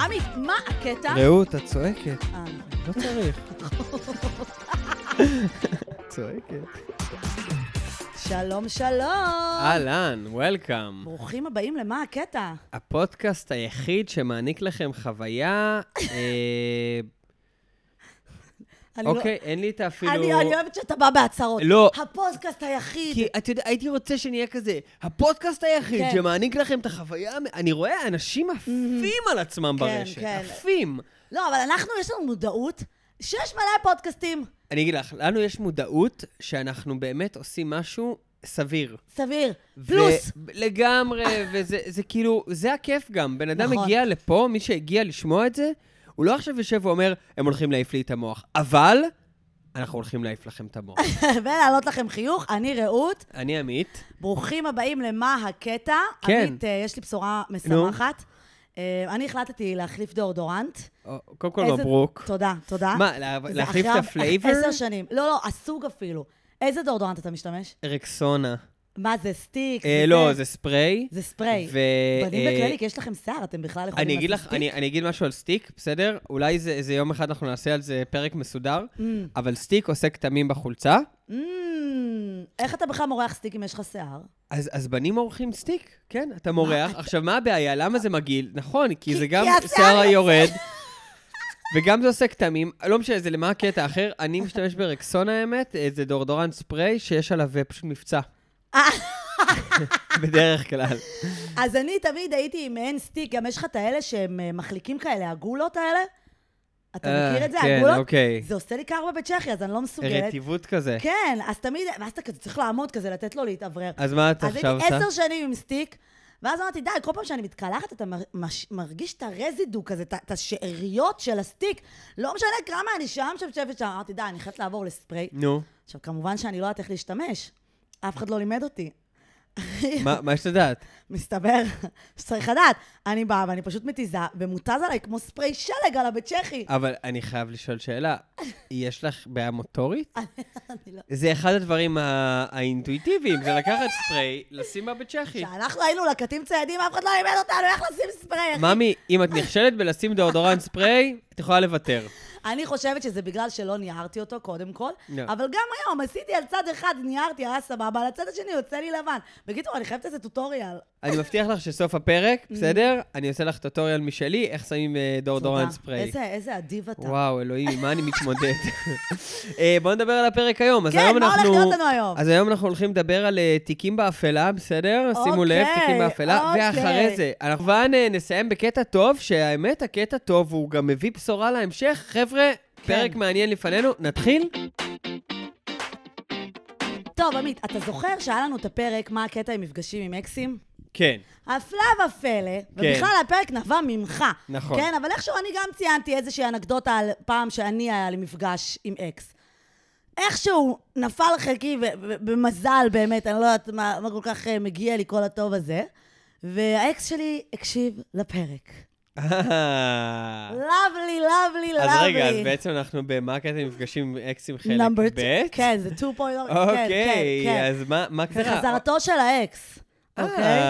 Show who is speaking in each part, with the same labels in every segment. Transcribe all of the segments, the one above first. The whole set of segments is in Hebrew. Speaker 1: עמי, מה הקטע?
Speaker 2: רעות, את צועקת.
Speaker 1: אה, נכון.
Speaker 2: לא צריך. צועקת.
Speaker 1: שלום,
Speaker 2: אה.
Speaker 1: שלום.
Speaker 2: אהלן, וולקאם.
Speaker 1: ברוכים הבאים למה הקטע?
Speaker 2: הפודקאסט היחיד שמעניק לכם חוויה... אה,
Speaker 1: אני לא-
Speaker 2: אוקיי, אין לי את האפילו...
Speaker 1: אני אני אוהבת שאתה בא בהצהרות.
Speaker 2: לא.
Speaker 1: הפודקאסט היחיד.
Speaker 2: כי את יודעת, הייתי רוצה שנהיה כזה, הפודקאסט היחיד
Speaker 1: כן. Mhm.
Speaker 2: שמעניק לכם את החוויה, המ- אני רואה אנשים עפים על עצמם
Speaker 1: כן,
Speaker 2: ברשת,
Speaker 1: כן.
Speaker 2: עפים.
Speaker 1: לא, אבל אנחנו, יש לנו מודעות שיש מלא פודקאסטים.
Speaker 2: אני אגיד לך, לנו יש מודעות שאנחנו באמת עושים משהו סביר.
Speaker 1: סביר.
Speaker 2: ו-
Speaker 1: פלוס.
Speaker 2: לגמרי, וזה זה כאילו, זה הכיף גם. בן אדם
Speaker 1: נכון.
Speaker 2: הגיע לפה, מי שהגיע לשמוע את זה, הוא לא עכשיו יושב ואומר, הם הולכים להעיף לי את המוח. אבל, אנחנו הולכים להעיף לכם את המוח.
Speaker 1: ולהעלות לכם חיוך, אני רעות.
Speaker 2: אני עמית.
Speaker 1: ברוכים הבאים למה הקטע.
Speaker 2: כן.
Speaker 1: עמית, אה, יש לי בשורה משמחת. אה, אני החלטתי להחליף דאודורנט.
Speaker 2: או, קודם כל,
Speaker 1: איזה-
Speaker 2: מברוק.
Speaker 1: תודה, תודה.
Speaker 2: מה, לה-
Speaker 1: זה
Speaker 2: להחליף
Speaker 1: אחרי
Speaker 2: את הפלייבר?
Speaker 1: עשר שנים. לא, לא, הסוג אפילו. איזה דאודורנט אתה משתמש?
Speaker 2: רקסונה.
Speaker 1: מה זה, סטיק?
Speaker 2: אה, לא, זה ספריי.
Speaker 1: זה ספרי.
Speaker 2: ו-
Speaker 1: בנים
Speaker 2: אה,
Speaker 1: בכללי, כי יש לכם שיער, אתם בכלל יכולים
Speaker 2: אני אגיד
Speaker 1: לעשות
Speaker 2: לך,
Speaker 1: סטיק?
Speaker 2: אני, אני אגיד משהו על סטיק, בסדר? אולי זה, זה יום אחד אנחנו נעשה על זה פרק מסודר, אבל סטיק עושה כתמים בחולצה,
Speaker 1: אמ, Mm, איך אתה בכלל מורח סטיק אם יש לך שיער?
Speaker 2: אז, אז בנים עורכים סטיק, כן, אתה מורח. עכשיו, מה הבעיה? למה זה מגעיל? נכון, כי זה גם
Speaker 1: כי השיער
Speaker 2: שיער
Speaker 1: יוצא.
Speaker 2: היורד, וגם זה עושה כתמים. לא משנה, זה למה הקטע אחר. אני משתמש ברקסון האמת, אה, זה דורדורן ספרי שיש עליו אה, פשוט מבצע. בדרך כלל.
Speaker 1: אז אני תמיד הייתי עם מעין סטיק, גם יש לך את האלה שהם אה, מחליקים כאלה, הגולות האלה? אתה
Speaker 2: אה,
Speaker 1: מכיר את זה,
Speaker 2: כן,
Speaker 1: הגולות?
Speaker 2: אוקיי.
Speaker 1: זה עושה לי קרבה בצ'כי, אז אני לא מסוגלת.
Speaker 2: רטיבות כזה.
Speaker 1: כן, אז תמיד, ואז אתה כזה צריך לעמוד כזה, לתת לו להתאוורר.
Speaker 2: אז מה את
Speaker 1: אז
Speaker 2: עכשיו
Speaker 1: הייתי
Speaker 2: עושה?
Speaker 1: עשר שנים עם סטיק, ואז אמרתי, די, כל פעם שאני מתקלחת, אתה מר- מש- מרגיש את הרזידו כזה, את ה- את השאריות של הסטיק. לא משנה כמה אני שם, שם, שם, שם. אמרתי, די, אני חייבת לעבור לספרי.
Speaker 2: נו,
Speaker 1: עכשיו, כמובן שאני לא יודעת איך להשתמש. אף אחד לא לימד אותי.
Speaker 2: מה מה שאת יודעת?
Speaker 1: מסתבר שצריך לדעת. אני באה ואני פשוט מתיזה, ומותז עליי כמו ספרי שלג על הבית צ'כי.
Speaker 2: אבל אני חייב לשאול שאלה. יש לך בעיה מוטורית?
Speaker 1: אני לא-
Speaker 2: זה אחד הדברים ה- האינטואיטיביים, זה לקחת ספרי, לשים בה בצ'כי.
Speaker 1: כשאנחנו היינו לקטים ציידים, אף אחד לא לימד אותנו איך לשים ספרי. אחי.
Speaker 2: ממי, אם את נכשלת בלשים דאודורנט ספרי, את יכולה לוותר.
Speaker 1: אני חושבת שזה בגלל שלא ניערתי אותו קודם כל,
Speaker 2: לא.
Speaker 1: אבל גם היום עשיתי על צד אחד, ניערתי, היה סבבה, על הצד השני יוצא לי לבן. בקיצור, אני חייבת איזה טוטוריאל.
Speaker 2: אני מבטיח לך שסוף הפרק,
Speaker 1: Mm-hmm.
Speaker 2: בסדר? אני עושה לך טוטוריאל משלי, איך שמים אה, דאודורנט
Speaker 1: תודה.
Speaker 2: ספרי.
Speaker 1: איזה- איזה אדיב אתה.
Speaker 2: וואו, אלוהים, עם מה אני מתמודד? אה, בואו נדבר על הפרק היום. אז
Speaker 1: כן,
Speaker 2: היום
Speaker 1: מה הולך
Speaker 2: אנחנו-
Speaker 1: להיות לנו היום?
Speaker 2: אז היום אנחנו הולכים לדבר על אה, תיקים באפלה, בסדר? שימו
Speaker 1: אוקיי,
Speaker 2: לב, תיקים באפלה.
Speaker 1: אוקיי.
Speaker 2: ואחרי זה, אנחנו כמובן אה, נסיים בקטע טוב, שהאמת, הקטע טוב, הוא גם מביא בשורה להמשך. חבר'ה,
Speaker 1: כן.
Speaker 2: פרק מעניין לפנינו, נתחיל?
Speaker 1: טוב, עמית, אתה זוכר שהיה לנו את הפרק, מה הקטע עם מפגשים עם אקסים?
Speaker 2: כן.
Speaker 1: הפלא ופלא, ובכלל הפרק נבע ממך.
Speaker 2: נכון.
Speaker 1: כן, אבל איכשהו אני גם ציינתי איזושהי אנקדוטה על פעם שאני היה לי מפגש עם אקס. איכשהו נפל חלקי, ו- ו- במזל באמת, אני לא יודעת מה, מה כל כך אה, מגיע לי כל הטוב הזה, והאקס שלי הקשיב לפרק.
Speaker 2: אה.
Speaker 1: לאבלי, לאבלי, לאבלי.
Speaker 2: אז רגע, אז בעצם אנחנו במה הקטע מפגשים עם אקסים חלק
Speaker 1: Number two-
Speaker 2: ב'?
Speaker 1: כן, זה 2.0. כן, כן,
Speaker 2: אוקיי,
Speaker 1: כן.
Speaker 2: אז מה מה קרה?
Speaker 1: זה חזרתו של האקס,
Speaker 2: אה,
Speaker 1: אוקיי?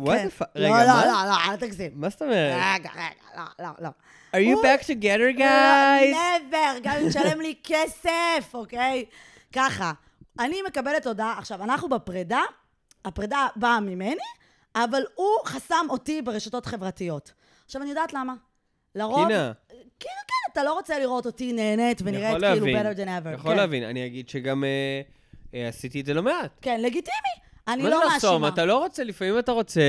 Speaker 2: what
Speaker 1: כן.
Speaker 2: the fuck?
Speaker 1: לא,
Speaker 2: רגע,
Speaker 1: לא,
Speaker 2: מה? אה.
Speaker 1: לא, לא, אל תגזים.
Speaker 2: מה זאת אומרת?
Speaker 1: רגע, רגע, לא, לא, לא.
Speaker 2: are you back together,
Speaker 1: לא,
Speaker 2: guys?
Speaker 1: never, גם אם תשלם לי כסף, אוקיי? ככה, אני מקבלת הודעה, עכשיו, אנחנו בפרידה, הפרידה באה ממני, אבל הוא חסם אותי ברשתות חברתיות. עכשיו, אני יודעת למה. לרוב...
Speaker 2: קינה.
Speaker 1: כאילו, כן, אתה לא רוצה לראות אותי נהנית
Speaker 2: אני
Speaker 1: ונראית
Speaker 2: יכול
Speaker 1: כאילו
Speaker 2: להבין.
Speaker 1: better than ever.
Speaker 2: יכול
Speaker 1: כן.
Speaker 2: להבין, אני אגיד שגם אה, אה, עשיתי את זה לא מעט.
Speaker 1: כן, לגיטימי. אני
Speaker 2: מה זה
Speaker 1: לא
Speaker 2: לחסום?
Speaker 1: מאשימה.
Speaker 2: אתה לא רוצה, לפעמים אתה רוצה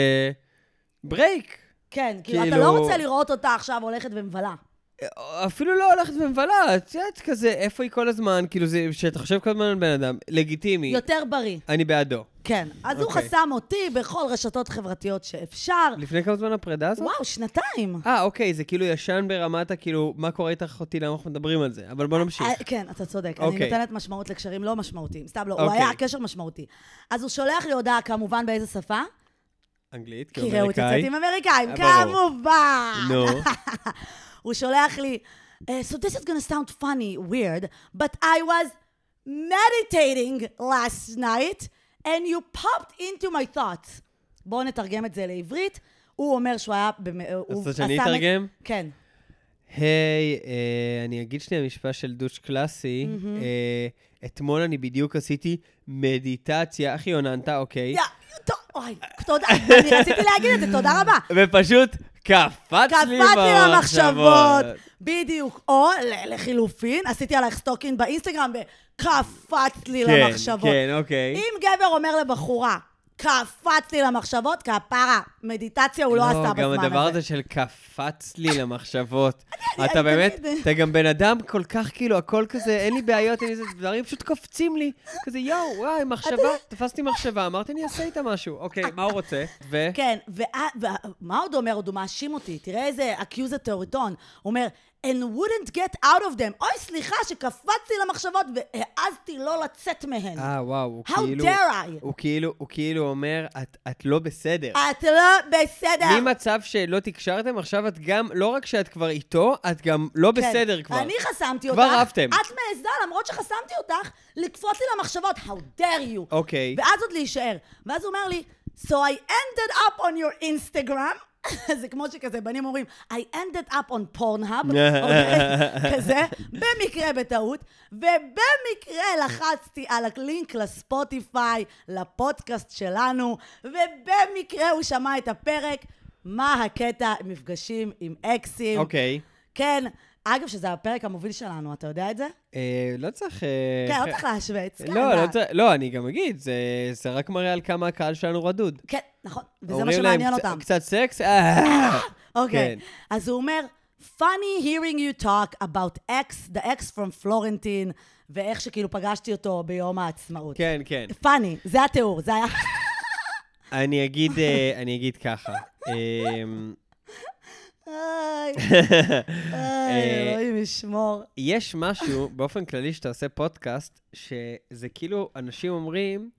Speaker 2: ברייק.
Speaker 1: כן, כאילו, אתה
Speaker 2: כאילו-
Speaker 1: לא רוצה לראות אותה עכשיו הולכת ומבלה.
Speaker 2: אה, אפילו לא הולכת ומבלה, את יודעת כזה, איפה היא כל הזמן, כאילו זה, שאתה חושב כל הזמן על בן אדם, לגיטימי,
Speaker 1: יותר בריא.
Speaker 2: אני בעדו.
Speaker 1: כן. אז הוא
Speaker 2: אוקיי.
Speaker 1: חסם אותי בכל רשתות חברתיות שאפשר.
Speaker 2: לפני כמה זמן הפרידה הזאת?
Speaker 1: וואו, שנתיים.
Speaker 2: אה, אוקיי, זה כאילו ישן ברמת הכאילו, מה קורה איתך אחותי, למה אנחנו מדברים על זה? אבל בוא נמשיך.
Speaker 1: אה, כן, אתה צודק. אני
Speaker 2: אוקיי.
Speaker 1: נותנת משמעות לקשרים לא משמעותיים. סתם לא, הוא
Speaker 2: אוקיי.
Speaker 1: היה קשר משמעותי. אז הוא שולח לי הודעה, כמובן, באיזה שפה?
Speaker 2: אנגלית,
Speaker 1: כי ראו
Speaker 2: כאמריקאי.
Speaker 1: יוצאת עם אמריקאים,
Speaker 2: אה, ברור.
Speaker 1: כמובן.
Speaker 2: נו,
Speaker 1: הוא שולח לי, "Uh, So this is gonna sound funny, weird, but I was meditating last night and you popped into my thoughts. בואו נתרגם את זה לעברית. הוא אומר שהוא היה... במ- אה, הוא
Speaker 2: רוצה שאני
Speaker 1: עשה מ-
Speaker 2: אתרגם?
Speaker 1: כן.
Speaker 2: היי, אה, אני אגיד שנייה משפט של דוש קלאסי. אה, אתמול אני בדיוק עשיתי מדיטציה. אחי, עוננת, אוקיי.
Speaker 1: יא, טוב, אוי, תודה, אני רציתי להגיד את זה, תודה רבה.
Speaker 2: ופשוט קפץ
Speaker 1: קפץ
Speaker 2: לי
Speaker 1: לי למחשבות,
Speaker 2: במחשבות.
Speaker 1: בדיוק. או ל- לחילופין, עשיתי עלייך סטוקינג באינסטגרם, וקפץ לי
Speaker 2: כן,
Speaker 1: למחשבות.
Speaker 2: כן, אוקיי.
Speaker 1: אם גבר אומר לבחורה, קפץ לי למחשבות, כפרה, מדיטציה הוא לא עשה בזמן הזה.
Speaker 2: גם הדבר הזה של קפץ לי למחשבות. אתה
Speaker 1: אני
Speaker 2: באמת,
Speaker 1: תמיד-
Speaker 2: אתה גם בן אדם כל כך, כאילו, הכל כזה, אין לי בעיות, אין לי זה, דברים פשוט קופצים לי. כזה, יואו, וואי, מחשבה, תפסתי מחשבה, אמרתי, אני אעשה איתה משהו. אוקיי, מה הוא רוצה? ו...
Speaker 1: כן, ומה עוד הוא אומר? עוד הוא מאשים אותי. תראה איזה accusatory tone. הוא אומר, and wouldn't get out of them. אוי, סליחה שקפצתי למחשבות והעזתי לא לצאת מהן.
Speaker 2: אה, וואו, הוא
Speaker 1: How
Speaker 2: כאילו...
Speaker 1: dare I?
Speaker 2: הוא כאילו, הוא כאילו אומר, "את- את לא בסדר.
Speaker 1: את לא בסדר.
Speaker 2: ממצב שלא תקשרתם, עכשיו את גם, לא רק שאת כבר איתו, את גם לא
Speaker 1: כן.
Speaker 2: בסדר כבר.
Speaker 1: אני חסמתי אותך.
Speaker 2: כבר עפתם.
Speaker 1: את מעיזה, למרות שחסמתי אותך, לקפוץ לי למחשבות. How dare you.
Speaker 2: אוקיי.
Speaker 1: ואז עוד להישאר. ואז הוא אומר לי, So I ended up on your Instagram. זה כמו שכזה, בנים אומרים, I ended up on Pornhub, אוקיי? כזה, במקרה בטעות, ובמקרה לחצתי על הלינק לספוטיפיי, לפודקאסט שלנו, ובמקרה הוא שמע את הפרק, מה הקטע עם מפגשים עם אקסים.
Speaker 2: אוקיי.
Speaker 1: כן. אגב, שזה הפרק המוביל שלנו, אתה יודע את זה?
Speaker 2: אה, לא צריך... אה,
Speaker 1: כן,
Speaker 2: ח-
Speaker 1: לא צריך להשוויץ. כן,
Speaker 2: לא,
Speaker 1: אתה-
Speaker 2: לא צריך- לא, אני גם אגיד, זה- זה רק מראה על כמה הקהל שלנו רדוד.
Speaker 1: כן, נכון, וזה
Speaker 2: אומרים
Speaker 1: מה
Speaker 2: להם,
Speaker 1: שמעניין
Speaker 2: "קצ-
Speaker 1: אותם.
Speaker 2: קצת סקס? אה,
Speaker 1: אוקיי.
Speaker 2: כן.
Speaker 1: אז הוא אומר, funny hearing you talk about X, the X from Florentine, ואיך שכאילו פגשתי אותו ביום העצמאות.
Speaker 2: כן, כן.
Speaker 1: funny, זה התיאור, זה היה...
Speaker 2: אני אגיד, אה, אני אגיד ככה. אמ,
Speaker 1: איי,
Speaker 2: אה.
Speaker 1: איי, אלוהים ישמור.
Speaker 2: יש משהו, באופן כללי, שאתה עושה פודקאסט, שזה כאילו, אנשים אומרים,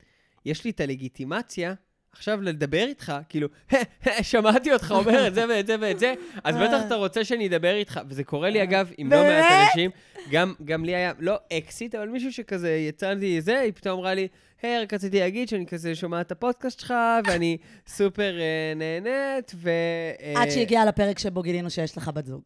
Speaker 2: יש לי את הלגיטימציה עכשיו לדבר איתך, כאילו, שמעתי אותך אומר את זה ואת זה ואת זה, אז בטח אתה רוצה שאני אדבר איתך. וזה קורה לי, אגב, עם לא מעט
Speaker 1: באמת?
Speaker 2: אנשים. גם, גם לי היה, לא אקסיט, אבל מישהו שכזה יצא לי זה, היא פתאום אמרה לי, היי, רק רציתי להגיד שאני כזה שומעת את הפודקאסט שלך, ואני סופר אה, נהנית, ו... אה,
Speaker 1: עד שהגיע לפרק שבו גילינו שיש לך בת זוג.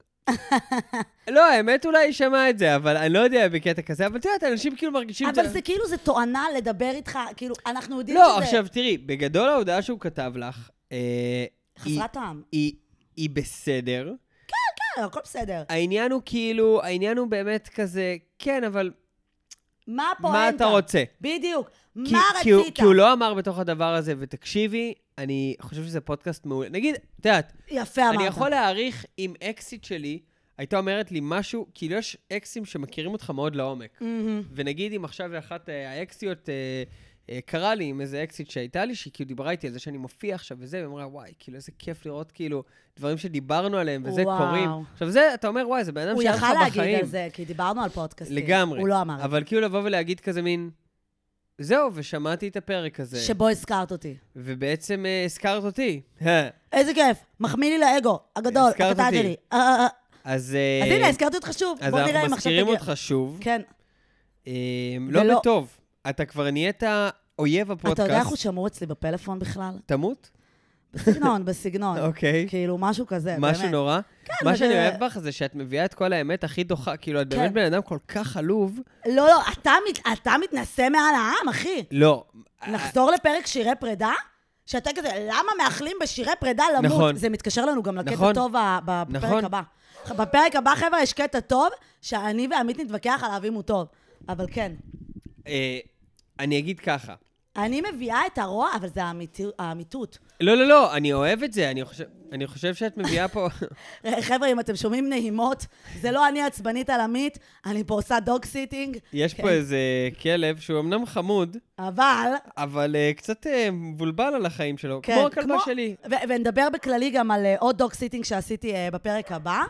Speaker 2: לא, האמת אולי היא שמעה את זה, אבל אני לא יודע בקטע כזה, אבל את יודעת, אנשים כאילו מרגישים... את
Speaker 1: אבל זה כאילו, זה תואנה לדבר איתך, כאילו, אנחנו יודעים
Speaker 2: לא,
Speaker 1: שזה
Speaker 2: עכשיו תראי, בגדול ההודעה שהוא כתב לך, אה, היא-
Speaker 1: חסרת טעם.
Speaker 2: היא- היא בסדר.
Speaker 1: אה, הכל בסדר.
Speaker 2: העניין הוא כאילו, העניין הוא באמת כזה, כן, אבל
Speaker 1: מה הפואנטה?
Speaker 2: מה אתה רוצה?
Speaker 1: בדיוק.
Speaker 2: כי-
Speaker 1: מה
Speaker 2: כי הוא-
Speaker 1: רצית?
Speaker 2: כי הוא לא אמר בתוך הדבר הזה, ותקשיבי, אני חושב שזה פודקאסט מעולה. נגיד, את יודעת,
Speaker 1: יפה אמרת.
Speaker 2: אני יכול להעריך אם אקסיט שלי הייתה אומרת לי משהו, כאילו יש אקסים שמכירים אותך מאוד לעומק.
Speaker 1: מהמם.
Speaker 2: ונגיד אם עכשיו אחת אה, האקסיות אה, אה, קרה לי עם איזה אקסיט שהייתה לי, שהיא כאילו דיברה איתי על זה שאני מופיע עכשיו וזה, והיא אמרה, וואי, כאילו איזה כיף לראות כאילו דברים שדיברנו עליהם וזה
Speaker 1: וואו.
Speaker 2: קורים. עכשיו זה, אתה אומר, וואי, זה בן אדם
Speaker 1: הוא
Speaker 2: שהיה לך
Speaker 1: יכל
Speaker 2: בחיים.
Speaker 1: להגיד על זה, כי דיברנו על פודקאסטים.
Speaker 2: לגמרי.
Speaker 1: הוא לא אמר.
Speaker 2: אבל כאילו לבוא ולהגיד כזה מין, זהו, ושמעתי את הפרק הזה,
Speaker 1: שבו הזכרת אותי.
Speaker 2: ובעצם אה, הזכרת אותי. אה,
Speaker 1: איזה כיף, מחמיא לי לאגו הגדול,
Speaker 2: הזכרת
Speaker 1: הקטן
Speaker 2: אותי.
Speaker 1: שלי. אה, אה, אה.
Speaker 2: אז... אה,
Speaker 1: אז הנה, הזכרתי אותך שוב,
Speaker 2: אז
Speaker 1: בוא נראה
Speaker 2: אנחנו
Speaker 1: אם עכשיו
Speaker 2: מזכירים
Speaker 1: תגיע.
Speaker 2: אותך שוב,
Speaker 1: כן,
Speaker 2: אה, לא
Speaker 1: ולא-
Speaker 2: בטוב. אתה כבר נהיית אויב הפודקאסט.
Speaker 1: אתה יודע איך הוא שמור אצלי בפלאפון בכלל?
Speaker 2: תמות?
Speaker 1: בסגנון, בסגנון.
Speaker 2: אוקיי.
Speaker 1: כאילו, משהו כזה, באמת. כן,
Speaker 2: משהו נורא. מה
Speaker 1: אבל-
Speaker 2: שאני אוהב בך זה שאת מביאה את כל האמת הכי דוחה, כאילו, את באמת
Speaker 1: כן.
Speaker 2: בן אדם כל כך עלוב.
Speaker 1: לא, לא, אתה מת- אתה מתנשא מעל העם, אחי.
Speaker 2: לא.
Speaker 1: נחזור לפרק שירי פרידה? שאתה כזה, למה מאחלים בשירי פרידה למות?
Speaker 2: נכון.
Speaker 1: זה מתקשר לנו גם לקטע
Speaker 2: נכון.
Speaker 1: טוב ה- ב- בפרק
Speaker 2: נכון.
Speaker 1: הבא. בפרק הבא, חבר'ה, יש קטע טוב, שאני ועמית נתווכח עליו אם הוא טוב. אבל כן.
Speaker 2: אה, אני אגיד ככה.
Speaker 1: אני מביאה את הרוע, אבל זה האמיתי- האמיתות.
Speaker 2: לא, לא, לא, אני אוהב את זה, אני חושב, אני חושב שאת מביאה פה...
Speaker 1: חבר'ה, אם אתם שומעים נהימות, זה לא אני עצבנית על עמית, אני פה עושה דוג סיטינג,
Speaker 2: יש פה איזה כלב שהוא אמנם חמוד,
Speaker 1: אבל...
Speaker 2: אבל אה, קצת אה, מבולבל על החיים שלו,
Speaker 1: כן,
Speaker 2: כמו הכלבה שלי.
Speaker 1: ו- ונדבר בכללי גם על אה, עוד דוג סיטינג שעשיתי אה, בפרק הבא.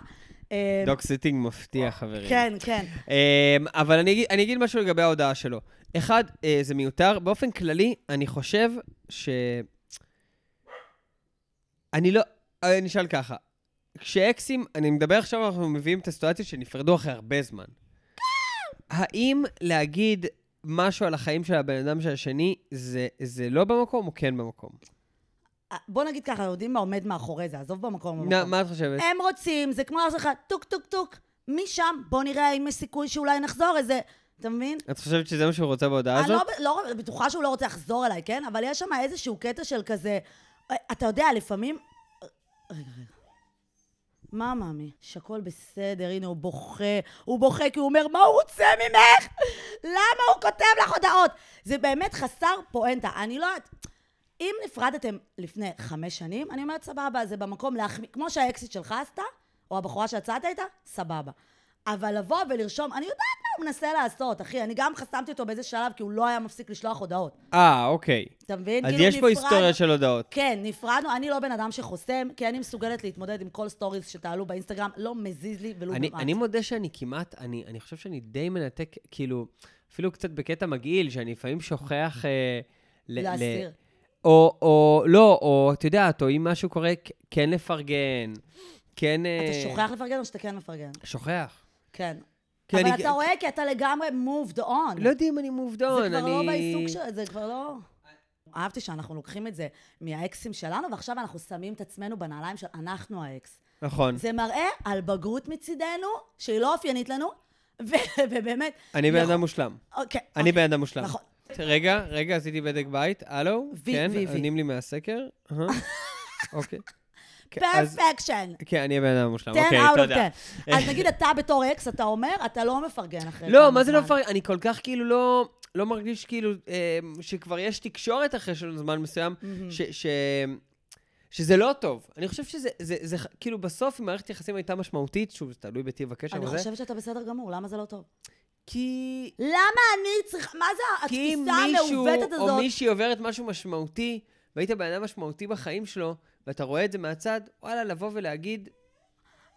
Speaker 1: אה,
Speaker 2: דוק סיטינג מפתיע, חברים.
Speaker 1: כן, כן.
Speaker 2: אמ, אבל אני אגיד, אני אגיד משהו לגבי ההודעה שלו. אחד, אה, זה מיותר. באופן כללי, אני חושב ש... אני לא... אה, אני אשאל ככה. כשאקסים, אני מדבר עכשיו, אנחנו מביאים את הסיטואציה שנפרדו אחרי הרבה זמן. האם להגיד משהו על החיים של הבן אדם של השני, זה, זה לא במקום או כן במקום?
Speaker 1: אה, בוא נגיד ככה, יודעים מה עומד מאחורי זה, עזוב במקום.
Speaker 2: נא,
Speaker 1: במקום.
Speaker 2: מה את חושבת?
Speaker 1: הם רוצים, זה כמו לך, טוק טוק טוק, משם, בוא נראה אם יש סיכוי שאולי נחזור איזה, אתה מבין?
Speaker 2: את חושבת שזה מה שהוא רוצה בהודעה
Speaker 1: אני לא,
Speaker 2: הזאת?
Speaker 1: לא בטוחה שהוא לא רוצה לחזור אליי, כן? אבל יש שם איזשהו קטע של כזה, אה, אתה יודע, לפעמים... אה, רגע, רגע. מה, מאמי? שהכל בסדר, הנה הוא בוכה, הוא בוכה כי הוא אומר, מה הוא רוצה ממך? למה הוא כותב לך הודעות? זה באמת חסר פואנטה. אני לא יודעת... אם נפרדתם לפני חמש שנים, אני אומרת, סבבה, זה במקום להחמיא, כמו שהאקסיט שלך עשתה, או הבחורה שיצאת איתה, סבבה. אבל לבוא ולרשום, אני יודעת מה הוא מנסה לעשות, אחי, אני גם חסמתי אותו באיזה שלב, כי הוא לא היה מפסיק לשלוח הודעות.
Speaker 2: אה, אוקיי.
Speaker 1: אתה מבין?
Speaker 2: אז
Speaker 1: לא. כאילו,
Speaker 2: יש פה
Speaker 1: נפרד-
Speaker 2: היסטוריה של הודעות.
Speaker 1: כן, נפרדנו, אני לא בן אדם שחוסם, כי אני מסוגלת להתמודד עם כל סטוריז שתעלו באינסטגרם, לא מזיז לי ולו
Speaker 2: אני,
Speaker 1: במעט.
Speaker 2: אני מודה שאני כמעט, אני, אני חושב שאני די מנתק, כאילו, אפילו קצת בקטע מגעיל, שאני לפעמים שוכח... אה, ל- ל-
Speaker 1: להסיר.
Speaker 2: או, או, לא, או, את יודעת, או אם משהו קורה, כ- כן לפרגן, כן...
Speaker 1: אתה
Speaker 2: אה,
Speaker 1: שוכח לפרגן או שאתה כן מפרגן?
Speaker 2: שוכח.
Speaker 1: כן.
Speaker 2: כי
Speaker 1: אבל
Speaker 2: אני-
Speaker 1: אתה רואה, כי אתה לגמרי moved on.
Speaker 2: לא יודע אם אני מובדון,
Speaker 1: זה
Speaker 2: אני...
Speaker 1: כבר לא בעיסוק של... זה כבר לא... אהבתי שאנחנו לוקחים את זה מהאקסים שלנו, ועכשיו אנחנו שמים את עצמנו בנעליים של אנחנו האקס.
Speaker 2: נכון.
Speaker 1: זה מראה על בגרות מצידנו, שהיא לא אופיינית לנו, ו- ובאמת...
Speaker 2: אני בן
Speaker 1: נכון.
Speaker 2: אדם מושלם.
Speaker 1: אוקיי.
Speaker 2: אני בן אדם מושלם.
Speaker 1: נכון.
Speaker 2: רגע, רגע, עשיתי בדק בית. הלו?
Speaker 1: וי,
Speaker 2: כן,
Speaker 1: וי, וי.
Speaker 2: עונים לי מהסקר? אהה. אוקיי. כן, אז-
Speaker 1: פרפקשן.
Speaker 2: כן, אני הבן אדם המושלם.
Speaker 1: 10
Speaker 2: אוקיי,
Speaker 1: out of
Speaker 2: תודה.
Speaker 1: 10. אז נגיד אתה בתור אקס, אתה אומר, אתה לא מפרגן אחרי
Speaker 2: לא,
Speaker 1: כמה
Speaker 2: מה זה לא
Speaker 1: זמן.
Speaker 2: מפרגן? אני כל כך כאילו לא... לא מרגיש כאילו אה, שכבר יש תקשורת אחרי של זמן מסוים,
Speaker 1: Mm.
Speaker 2: ש, ש, שזה לא טוב. אני חושב שזה, זה, זה, ח- כאילו בסוף, אם מערכת יחסים הייתה משמעותית, שוב, זה תלוי בטיב הקשר
Speaker 1: אני
Speaker 2: וזה,
Speaker 1: חושבת שאתה בסדר גמור, למה זה לא טוב?
Speaker 2: כי
Speaker 1: למה אני צריכה... מה זה
Speaker 2: כי אם
Speaker 1: התפיסה
Speaker 2: מישהו
Speaker 1: המעוותת
Speaker 2: או
Speaker 1: הזאת?
Speaker 2: מישהי עוברת משהו משמעותי, והיית בן אדם משמעותי בחיים שלו, ואתה רואה את זה מהצד, וואלה, לבוא ולהגיד,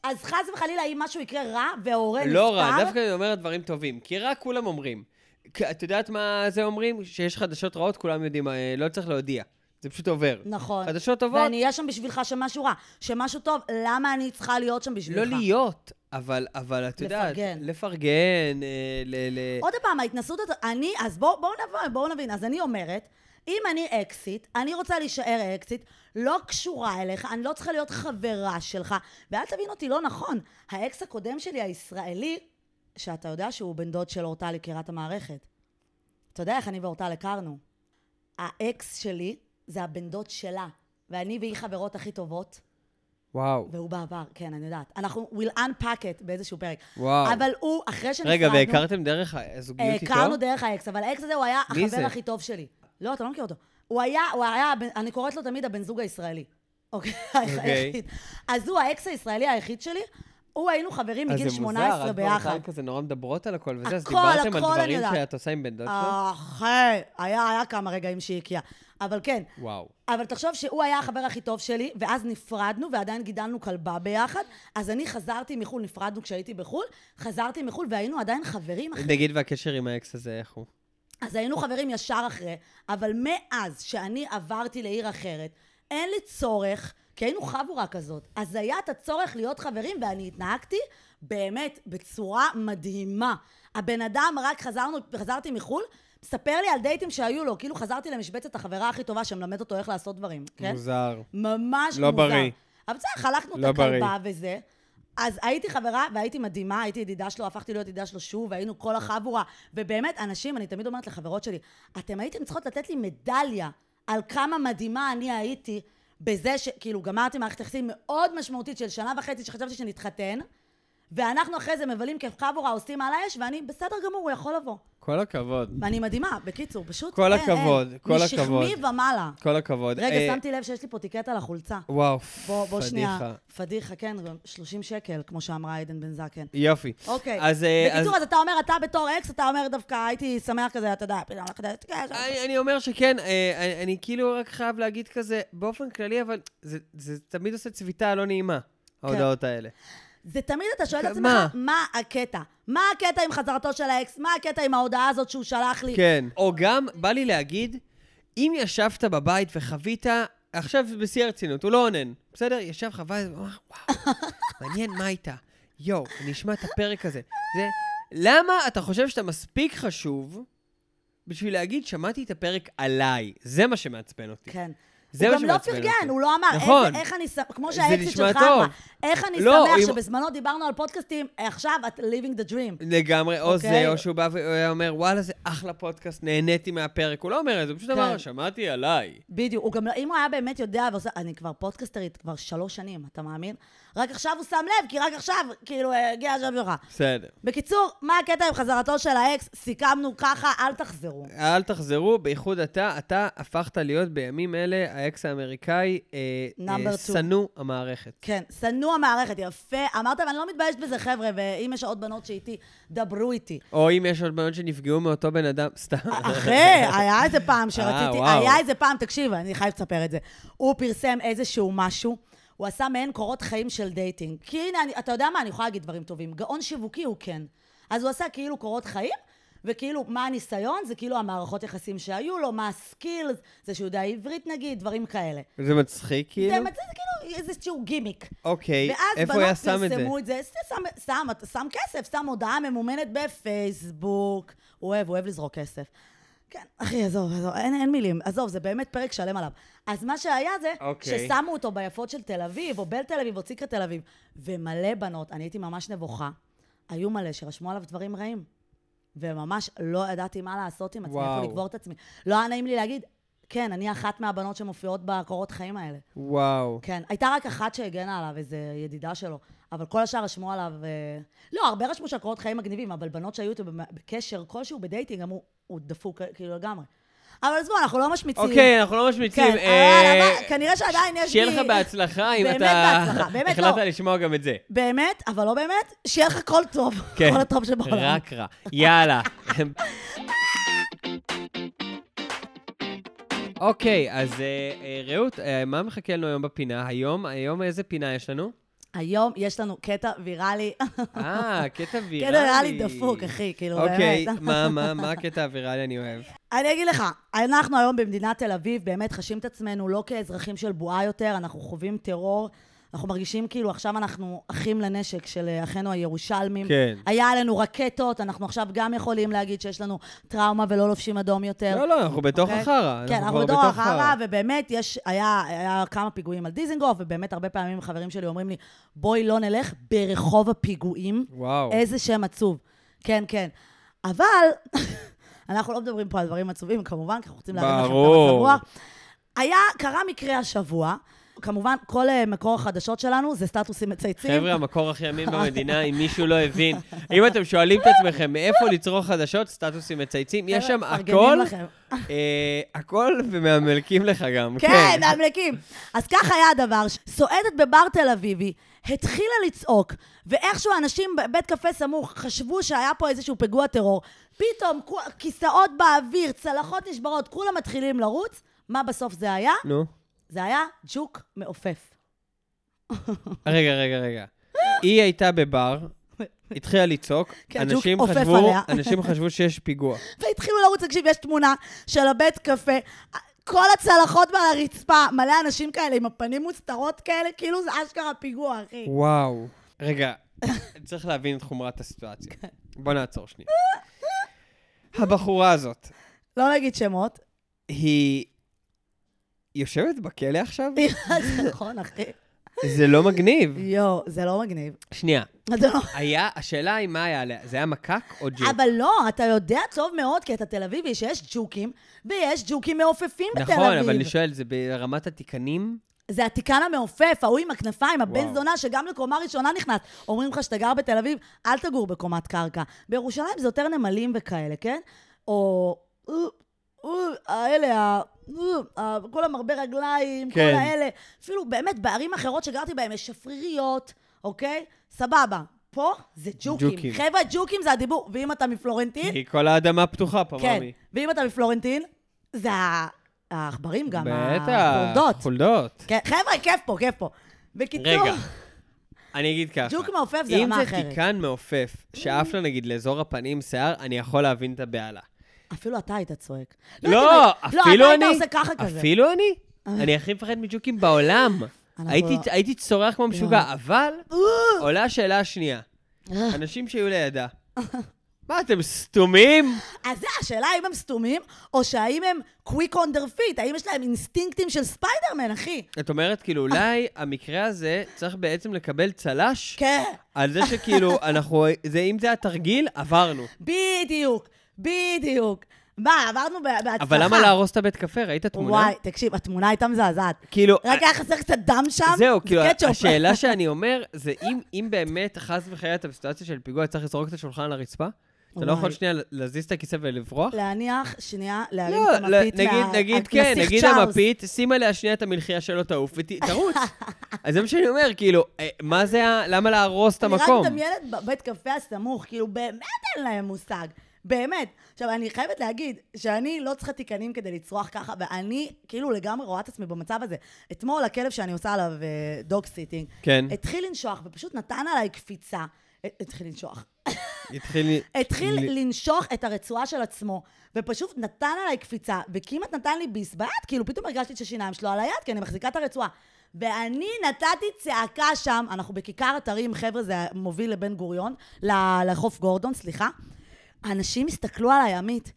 Speaker 1: אז חס וחלילה, אם משהו יקרה רע וההורה נפטר...
Speaker 2: לא רע, דווקא אני אומרת דברים טובים, כי רק כולם אומרים. כי את יודעת מה זה אומרים? שיש חדשות רעות, כולם יודעים, אה, לא צריך להודיע. זה פשוט עובר.
Speaker 1: נכון.
Speaker 2: חדשות טובות,
Speaker 1: ואני אהיה שם בשבילך שמשהו רע, שמשהו טוב, למה אני צריכה להיות שם בשבילך?
Speaker 2: לא להיות, אבל, אבל את יודעת,
Speaker 1: לפרגן.
Speaker 2: לפרגן, אה, ל... ל...
Speaker 1: עוד פעם, ההתנסות הזאת, אני, אז בואו בוא נבין, בואו נבין, אז אני אומרת, אם אני אקסיט, אני רוצה להישאר אקסיט, לא קשורה אליך, אני לא צריכה להיות חברה שלך, ואל תבין אותי לא נכון, האקס הקודם שלי, הישראלי, שאתה יודע שהוא בן דוד של אורטל יקירת המערכת. אתה יודע איך אני ואורטל הכרנו. האקס שלי זה הבן דוד שלה, ואני והיא חברות הכי טובות.
Speaker 2: וואו,
Speaker 1: והוא בעבר, כן, אני יודעת. אנחנו will unpack it באיזשהו פרק.
Speaker 2: וואו.
Speaker 1: אבל הוא, אחרי שנפרדנו...
Speaker 2: רגע, והכרתם דרך הזוגיות איתו?
Speaker 1: אה, הכרנו דרך האקס, אבל האקס הזה הוא היה
Speaker 2: מי
Speaker 1: החבר
Speaker 2: זה?
Speaker 1: הכי טוב שלי. לא, אתה לא מכיר אותו. הוא היה, הוא היה, הבן- אני קוראת לו תמיד הבן זוג הישראלי. אוקיי? היחיד. אז הוא האקס הישראלי היחיד שלי. הוא, היינו חברים מגיל 18
Speaker 2: אז זה מוזר,
Speaker 1: ביחד.
Speaker 2: את כזה נורא מדברות על הכל וזה, אז
Speaker 1: הכל,
Speaker 2: דיברתם על
Speaker 1: הכל אני
Speaker 2: דברים
Speaker 1: יודעת. אה.
Speaker 2: שאת עושה עם בן דוד שלך?
Speaker 1: אחי, היה, היה כמה רגעים שהיא הקיאה. אבל כן,
Speaker 2: וואו.
Speaker 1: אבל תחשוב שהוא היה החבר הכי טוב שלי, ואז נפרדנו, ועדיין גידלנו כלבה ביחד, אז אני חזרתי מחו"ל, נפרדנו כשהייתי בחו"ל, חזרתי מחו"ל והיינו עדיין חברים אחרי.
Speaker 2: נגיד והקשר עם האקס הזה, איך הוא?
Speaker 1: אז היינו חברים ישר אחרי, אבל מאז שאני עברתי לעיר אחרת, אין לי צורך, כי היינו חבורה כזאת, אז היה את הצורך להיות חברים, ואני התנהגתי באמת בצורה מדהימה. הבן אדם, רק חזרנו, חזרתי מחו"ל, מספר לי על דייטים שהיו לו, כאילו חזרתי למשבצת החברה הכי טובה שמלמד אותו איך לעשות דברים, כן?
Speaker 2: מוזר.
Speaker 1: ממש
Speaker 2: לא
Speaker 1: מוזר.
Speaker 2: בריא.
Speaker 1: אבל בסדר, חלקנו
Speaker 2: לא
Speaker 1: את הכלבה
Speaker 2: בריא.
Speaker 1: וזה. אז הייתי חברה והייתי מדהימה, הייתי ידידה שלו, הפכתי להיות ידידה שלו שוב, והיינו כל החבורה. ובאמת, אנשים, אני תמיד אומרת לחברות שלי, אתם הייתם צריכות לתת לי מדליה על כמה מדהימה אני הייתי בזה שכאילו גמרתי מערכת יחסים מאוד משמעותית של שנה וחצי שחשבתי שנתחתן, ואנחנו אחרי זה מבלים כחבורה, עושים על האש, ואני בסדר גמור, הוא יכול לבוא.
Speaker 2: כל הכבוד.
Speaker 1: ואני מדהימה, בקיצור, פשוט...
Speaker 2: כל
Speaker 1: אין, אין.
Speaker 2: הכבוד, כל הכבוד.
Speaker 1: משכמי ומעלה.
Speaker 2: כל הכבוד. אה,
Speaker 1: רגע, שמתי לב שיש לי פה טיקט על החולצה.
Speaker 2: וואו,
Speaker 1: בוא, בוא שנייה.
Speaker 2: פדיחה.
Speaker 1: פדיחה, כן, גם 30 שקל, כמו שאמרה עדן בן זקן.
Speaker 2: יופי.
Speaker 1: אוקיי.
Speaker 2: אז... אה,
Speaker 1: בקיצור,
Speaker 2: אז-
Speaker 1: אז אתה אומר, אתה בתור אקס, אתה אומר דווקא, הייתי שמח כזה, אתה יודע, פתאום לחדש, כן, שם.
Speaker 2: אני- אני אומר שכן, אה, אני- אני כאילו רק חייב להגיד כזה, באופן כללי, אבל זה- זה תמיד עושה צביטה לא נעימה,
Speaker 1: כן.
Speaker 2: ההודעות האלה.
Speaker 1: זה תמיד אתה שואל את עצמך,
Speaker 2: מה?
Speaker 1: מה הקטע? מה הקטע עם חזרתו של האקס? מה הקטע עם ההודעה הזאת שהוא שלח לי?
Speaker 2: כן. או גם, בא לי להגיד, אם ישבת בבית וחווית, עכשיו זה בשיא הרצינות, הוא לא אונן, בסדר? ישב חווה, הוא אמר, וואו, מעניין מה הייתה. יואו, אני אשמע את הפרק הזה. זה, למה אתה חושב שאתה מספיק חשוב בשביל להגיד, שמעתי את הפרק עליי? זה מה שמעצבן אותי.
Speaker 1: כן.
Speaker 2: זה
Speaker 1: הוא
Speaker 2: מה
Speaker 1: גם לא
Speaker 2: שמעצבן
Speaker 1: פרגן,
Speaker 2: אותי.
Speaker 1: הוא לא אמר,
Speaker 2: נכון.
Speaker 1: נכון. איך אני שמח, כמו
Speaker 2: זה
Speaker 1: שהאקסיט
Speaker 2: נשמע
Speaker 1: שלך
Speaker 2: טוב.
Speaker 1: אמרה, איך אני
Speaker 2: לא,
Speaker 1: שמח
Speaker 2: אם-
Speaker 1: שבזמנו דיברנו על פודקאסטים, עכשיו את living the dream.
Speaker 2: לגמרי, או
Speaker 1: אוקיי.
Speaker 2: זה, או שהוא בא ואומר, וואלה, זה אחלה פודקאסט, נהניתי מהפרק. הוא לא אומר את זה, הוא פשוט
Speaker 1: כן.
Speaker 2: אמר, שמעתי עליי.
Speaker 1: בדיוק, הוא גם, לא- אם הוא היה באמת יודע, ועושה, אני כבר פודקסטרית כבר שלוש שנים, אתה מאמין? רק עכשיו הוא שם לב, כי רק עכשיו, כאילו, הגיע השם שלך.
Speaker 2: בסדר.
Speaker 1: בקיצור, מה הקטע עם חזרתו של האקס? סיכמנו ככה, אל תחזרו.
Speaker 2: אל תחזרו, בייחוד אתה, אתה הפכת להיות בימים אלה האקס האמריקאי אה,
Speaker 1: Number two.
Speaker 2: אה, שנוא המערכת.
Speaker 1: כן, שנוא המערכת, יפה. אמרת, ואני לא מתביישת בזה, חבר'ה, ואם יש עוד בנות שאיתי, דברו איתי.
Speaker 2: או אם יש עוד בנות שנפגעו מאותו בן אדם, סתם.
Speaker 1: אחרי, היה איזה פעם
Speaker 2: אה,
Speaker 1: שרציתי,
Speaker 2: וואו.
Speaker 1: היה איזה פעם, תקשיב, אני חייבת לספר את זה. הוא פרסם איזשהו משהו, הוא עשה מעין קורות חיים של דייטינג. כי הנה, אני, אתה יודע מה, אני יכולה להגיד דברים טובים. גאון שיווקי הוא כן. אז הוא עשה כאילו קורות חיים, וכאילו, מה הניסיון? זה כאילו המערכות יחסים שהיו לו, מה הסקילס, זה שהוא יודע עברית נגיד, דברים כאלה.
Speaker 2: זה מצחיק, כאילו?
Speaker 1: זה מצ- זה כאילו איזשהו גימיק.
Speaker 2: אוקיי,
Speaker 1: ואז
Speaker 2: איפה הוא היה
Speaker 1: בנות
Speaker 2: שם את זה?
Speaker 1: פרסמו את זה, זה שם, שם, שם כסף, שם הודעה ממומנת בפייסבוק. הוא אוהב, הוא אוהב לזרוק כסף. כן, אחי, עזוב, עזוב, אין, אין מילים. עזוב, זה באמת פרק שלם עליו. אז מה שהיה זה,
Speaker 2: אוקיי.
Speaker 1: ששמו אותו ביפות של תל אביב, או בל תל אביב, או ציקה תל אביב, ומלא בנות, אני הייתי ממש נבוכה, היו מלא שרשמו עליו דברים רעים. וממש לא ידעתי מה לעשות עם עצמי, איפה
Speaker 2: וואו.
Speaker 1: לקבור את עצמי. לא היה נעים לי להגיד, כן, אני אחת מהבנות שמופיעות בקורות חיים האלה.
Speaker 2: וואו.
Speaker 1: כן, הייתה רק אחת שהגנה עליו, איזו ידידה שלו, אבל כל השאר רשמו עליו... אה, לא, הרבה רשמו של קורות חיים מגניבים, אבל בנות שהיו איתו במ- בקשר כלשהו בדייטינג אמרו, הוא דפוק כאילו לגמרי. אבל עזבו, אנחנו לא משמיצים.
Speaker 2: אוקיי, אנחנו לא משמיצים.
Speaker 1: כן,
Speaker 2: אה,
Speaker 1: אבל אבל כנראה שעדיין יש לי...
Speaker 2: שיהיה לך בהצלחה אם
Speaker 1: באמת
Speaker 2: אתה...
Speaker 1: בהצלחה, באמת לא.
Speaker 2: החלטת לשמוע גם את זה.
Speaker 1: באמת, אבל לא באמת, שיהיה לך כל טוב.
Speaker 2: כן.
Speaker 1: כל הטוב שבעולם.
Speaker 2: רק רע. יאללה. אוקיי, אז אה, אה, רעות, אה, מה מחכה לנו היום בפינה? היום, היום איזה פינה יש לנו?
Speaker 1: היום יש לנו קטע ויראלי.
Speaker 2: אה, קטע ויראלי.
Speaker 1: קטע ויראלי כן, דפוק, אחי, כאילו, באמת.
Speaker 2: אוקיי, מה, מה, מה הקטע הוויראלי אני אוהב?
Speaker 1: אני אגיד לך, אנחנו היום במדינת תל אביב באמת חשים את עצמנו לא כאזרחים של בועה יותר, אנחנו חווים טרור, אנחנו מרגישים כאילו עכשיו אנחנו אחים לנשק של אה, אחינו הירושלמים.
Speaker 2: כן.
Speaker 1: היה עלינו רקטות, אנחנו עכשיו גם יכולים להגיד שיש לנו טראומה ולא לובשים אדום יותר.
Speaker 2: לא, לא, אנחנו בתוך
Speaker 1: אוקיי?
Speaker 2: החרא.
Speaker 1: כן, אנחנו
Speaker 2: כבר
Speaker 1: בדור החרא, ובאמת יש, היה, היה כמה פיגועים על דיזנגוף, ובאמת הרבה פעמים חברים שלי אומרים לי, בואי לא נלך ברחוב הפיגועים.
Speaker 2: וואו.
Speaker 1: איזה שם עצוב. כן, כן. אבל אנחנו לא מדברים פה על דברים עצובים, כמובן, כי אנחנו רוצים להרים לכם את המצב
Speaker 2: ברור.
Speaker 1: רוח. היה, קרה מקרה השבוע, כמובן, כל אה, מקור החדשות שלנו זה סטטוסים מצייצים.
Speaker 2: חבר'ה, המקור הכי אמין במדינה, אם מישהו לא הבין. אם אתם שואלים את עצמכם מאיפה לצרוך חדשות, סטטוסים מצייצים, יש שם
Speaker 1: חבר'ה,
Speaker 2: הכל,
Speaker 1: מפרגנים לכם.
Speaker 2: אה, הכל ומאמלקים לך גם.
Speaker 1: כן, מאמלקים. אז ככה היה הדבר, סועדת בבר תל אביבי, התחילה לצעוק, ואיכשהו אנשים בבית קפה סמוך חשבו שהיה פה איזשהו פיגוע טרור, פתאום כו- כיסאות באוויר, צלחות נשברות, כולם מתחילים לרוץ, מה בסוף זה היה?
Speaker 2: נו.
Speaker 1: זה היה ג'וק מעופף.
Speaker 2: רגע, רגע, רגע. היא הייתה בבר, התחילה לצעוק,
Speaker 1: כן, ג'וק
Speaker 2: אנשים
Speaker 1: עופף
Speaker 2: חשבו-
Speaker 1: עליה.
Speaker 2: אנשים חשבו שיש פיגוע.
Speaker 1: והתחילו לרוץ, תקשיב, יש תמונה של הבית קפה, כל הצלחות על הרצפה, מלא אנשים כאלה עם הפנים מוסתרות כאלה, כאילו זה אשכרה פיגוע, אחי.
Speaker 2: וואו. רגע, צריך להבין את חומרת הסיטואציה.
Speaker 1: כן.
Speaker 2: בוא נעצור שנייה. הבחורה הזאת,
Speaker 1: לא נגיד שמות.
Speaker 2: היא יושבת בכלא עכשיו?
Speaker 1: זה נכון, אחי.
Speaker 2: זה לא מגניב.
Speaker 1: יואו, זה לא מגניב.
Speaker 2: שנייה,
Speaker 1: אתה לא-
Speaker 2: היה, השאלה היא מה היה עליה, זה היה מקק או ג'וק?
Speaker 1: אבל לא, אתה יודע טוב מאוד, כי אתה תל אביבי, שיש ג'וקים, ויש ג'וקים מעופפים בתל אביב.
Speaker 2: נכון, אבל אני שואל, זה ברמת התיקנים?
Speaker 1: זה התיקן המעופף, ההוא עם הכנפיים, הבן
Speaker 2: וואו.
Speaker 1: זונה שגם לקומה ראשונה נכנס. אומרים לך שאתה גר בתל אביב, אל תגור בקומת קרקע. בירושלים זה יותר נמלים וכאלה, כן? או... אה, אה, האלה, ה- אה, ה- כל המרבה רגליים, כל
Speaker 2: כן.
Speaker 1: האלה. אפילו באמת בערים אחרות שגרתי בהן יש שפריריות, אוקיי? סבבה. פה זה ג'וקים.
Speaker 2: ג'וקים.
Speaker 1: חבר'ה, ג'וקים זה הדיבור. ואם אתה מפלורנטין,
Speaker 2: כי כל האדמה פתוחה פה,
Speaker 1: כן.
Speaker 2: מאמי.
Speaker 1: ואם אתה מפלורנטין, זה ה- העכברים גם, החולדות.
Speaker 2: בטח, חולדות.
Speaker 1: כן, חבר'ה, כיף פה, כיף פה. בקיצור,
Speaker 2: רגע, אני אגיד ככה.
Speaker 1: ג'וק מעופף זה
Speaker 2: אם
Speaker 1: רמה
Speaker 2: זה
Speaker 1: אחרת.
Speaker 2: תיקן מעופף, שעף לה נגיד לאזור הפנים שיער, אני יכול להבין את הבהלה.
Speaker 1: אפילו אתה היית צועק.
Speaker 2: לא,
Speaker 1: הייתי-
Speaker 2: אפילו
Speaker 1: לא,
Speaker 2: אני,
Speaker 1: אתה היית עושה ככה כזה. אה.
Speaker 2: אפילו אני. אני הכי מפחד מג'וקים בעולם.
Speaker 1: אנחנו
Speaker 2: הייתי-
Speaker 1: לא-
Speaker 2: הייתי צורח כמו משוגע, אבל
Speaker 1: אה,
Speaker 2: עולה השאלה השנייה.
Speaker 1: אה,
Speaker 2: אנשים שהיו לידה, מה, אתם סתומים?
Speaker 1: אז זה, השאלה האם הם סתומים, או שהאם הם קוויק on their feet, האם יש להם אינסטינקטים של ספיידרמן, אחי?
Speaker 2: את אומרת, כאילו, אולי המקרה הזה צריך בעצם לקבל צל"ש?
Speaker 1: כן.
Speaker 2: על זה שכאילו, אנחנו... זה, אם זה התרגיל, עברנו.
Speaker 1: בדיוק, בדיוק. מה, עברנו ב- בהצלחה.
Speaker 2: אבל למה להרוס את הבית קפה? ראית תמונה?
Speaker 1: וואי, תקשיב, התמונה הייתה מזעזעת.
Speaker 2: כאילו...
Speaker 1: רק היה חסר קצת דם שם,
Speaker 2: זהו,
Speaker 1: זה
Speaker 2: כאילו,
Speaker 1: קטשופ.
Speaker 2: השאלה שאני אומר, זה אם, אם באמת, חס וחלילה, אתה בסיטואציה של פיגוע, צריך לזרוק את השולחן על הרצפה? אתה לא
Speaker 1: וואי.
Speaker 2: יכול שנייה להזיז את הכיסא ולברוח?
Speaker 1: להניח, שנייה, להרים
Speaker 2: לא,
Speaker 1: את
Speaker 2: לא,
Speaker 1: המפית מה...
Speaker 2: נגיד, נגיד כן,
Speaker 1: הנסיך
Speaker 2: נגיד
Speaker 1: צ'ארלס.
Speaker 2: המפית, שים עליה שנייה את המלחייה שלא תעוף ותרוץ. אז זה מה שאני אומר, כאילו, אה, מה זה ה... למה להרוס את
Speaker 1: אני רק
Speaker 2: המקום?
Speaker 1: מדמיינת בבית קפה הסמוך, כאילו באמת אין להם מושג. באמת. עכשיו, אני חייבת להגיד שאני לא צריכה תיקנים כדי לצרוח ככה, ואני כאילו לגמרי רואה את עצמי במצב הזה. אתמול הכלב שאני עושה עליו דוג סיטינג,
Speaker 2: כן,
Speaker 1: התחיל לנשוח ופשוט נתן עליי קפיצה. התחיל לנשוח.
Speaker 2: התחיל... לי-
Speaker 1: התחיל
Speaker 2: לי-
Speaker 1: לנשוך את הרצועה של עצמו, ופשוט נתן עליי קפיצה, וכמעט נתן לי ביס ביד, כאילו פתאום הרגשתי שהשיניים שלו על היד, כי אני מחזיקה את הרצועה. ואני נתתי צעקה שם, אנחנו בכיכר אתרים, חבר'ה, זה מוביל לבן גוריון, ל- לחוף גורדון, סליחה. אנשים הסתכלו עליי, עמית.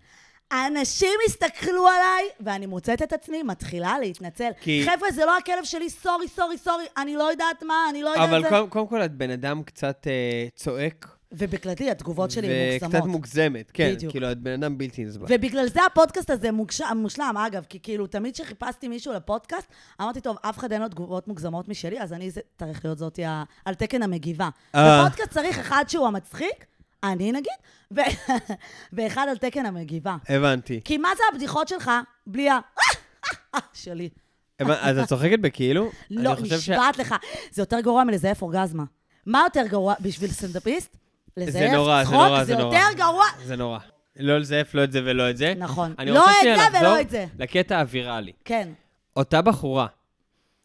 Speaker 1: אנשים הסתכלו עליי, ואני מוצאת את עצמי מתחילה להתנצל.
Speaker 2: כי-
Speaker 1: חבר'ה, זה לא הכלב שלי, סורי, סורי, סורי, אני לא יודעת מה, אני לא יודעת
Speaker 2: אבל
Speaker 1: זה.
Speaker 2: קודם- קודם כל, את בן אדם קצת אה, צועק.
Speaker 1: ובכללי, התגובות שלי הן מוגזמות.
Speaker 2: וקצת מוגזמת, כן.
Speaker 1: בדיוק.
Speaker 2: כאילו, את בן אדם בלתי נסבל.
Speaker 1: ובגלל זה הפודקאסט הזה מוגש... מושלם, אגב, כי כאילו, תמיד כשחיפשתי מישהו לפודקאסט, אמרתי, טוב, אף אחד אין לו תגובות מוגזמות משלי, אז אני זה- צריך להיות זאתי ה... על תקן המגיבה.
Speaker 2: אה.
Speaker 1: בפודקאסט צריך אחד שהוא המצחיק, אני נגיד, ו... ואחד על תקן המגיבה.
Speaker 2: הבנתי.
Speaker 1: כי מה זה הבדיחות שלך בלי ה... שלי.
Speaker 2: הבנ- אז את צוחקת בכאילו?
Speaker 1: לא,
Speaker 2: אני חושב ש-
Speaker 1: נשבעת לך. זה יותר גרוע מלזייף אורגזמה. מה יותר גרוע בשביל סטנדאפיסט?
Speaker 2: זה
Speaker 1: לזייף
Speaker 2: נורא, זה
Speaker 1: צחוק,
Speaker 2: נורא, זה נורא.
Speaker 1: יותר גרוע.
Speaker 2: זה נורא. לא לזייף, לא את זה ולא את זה.
Speaker 1: נכון.
Speaker 2: אני
Speaker 1: לא
Speaker 2: רוצה
Speaker 1: את
Speaker 2: שנייה
Speaker 1: זה ולא
Speaker 2: לחזור
Speaker 1: את זה.
Speaker 2: לקטע הוויראלי.
Speaker 1: כן.
Speaker 2: אותה בחורה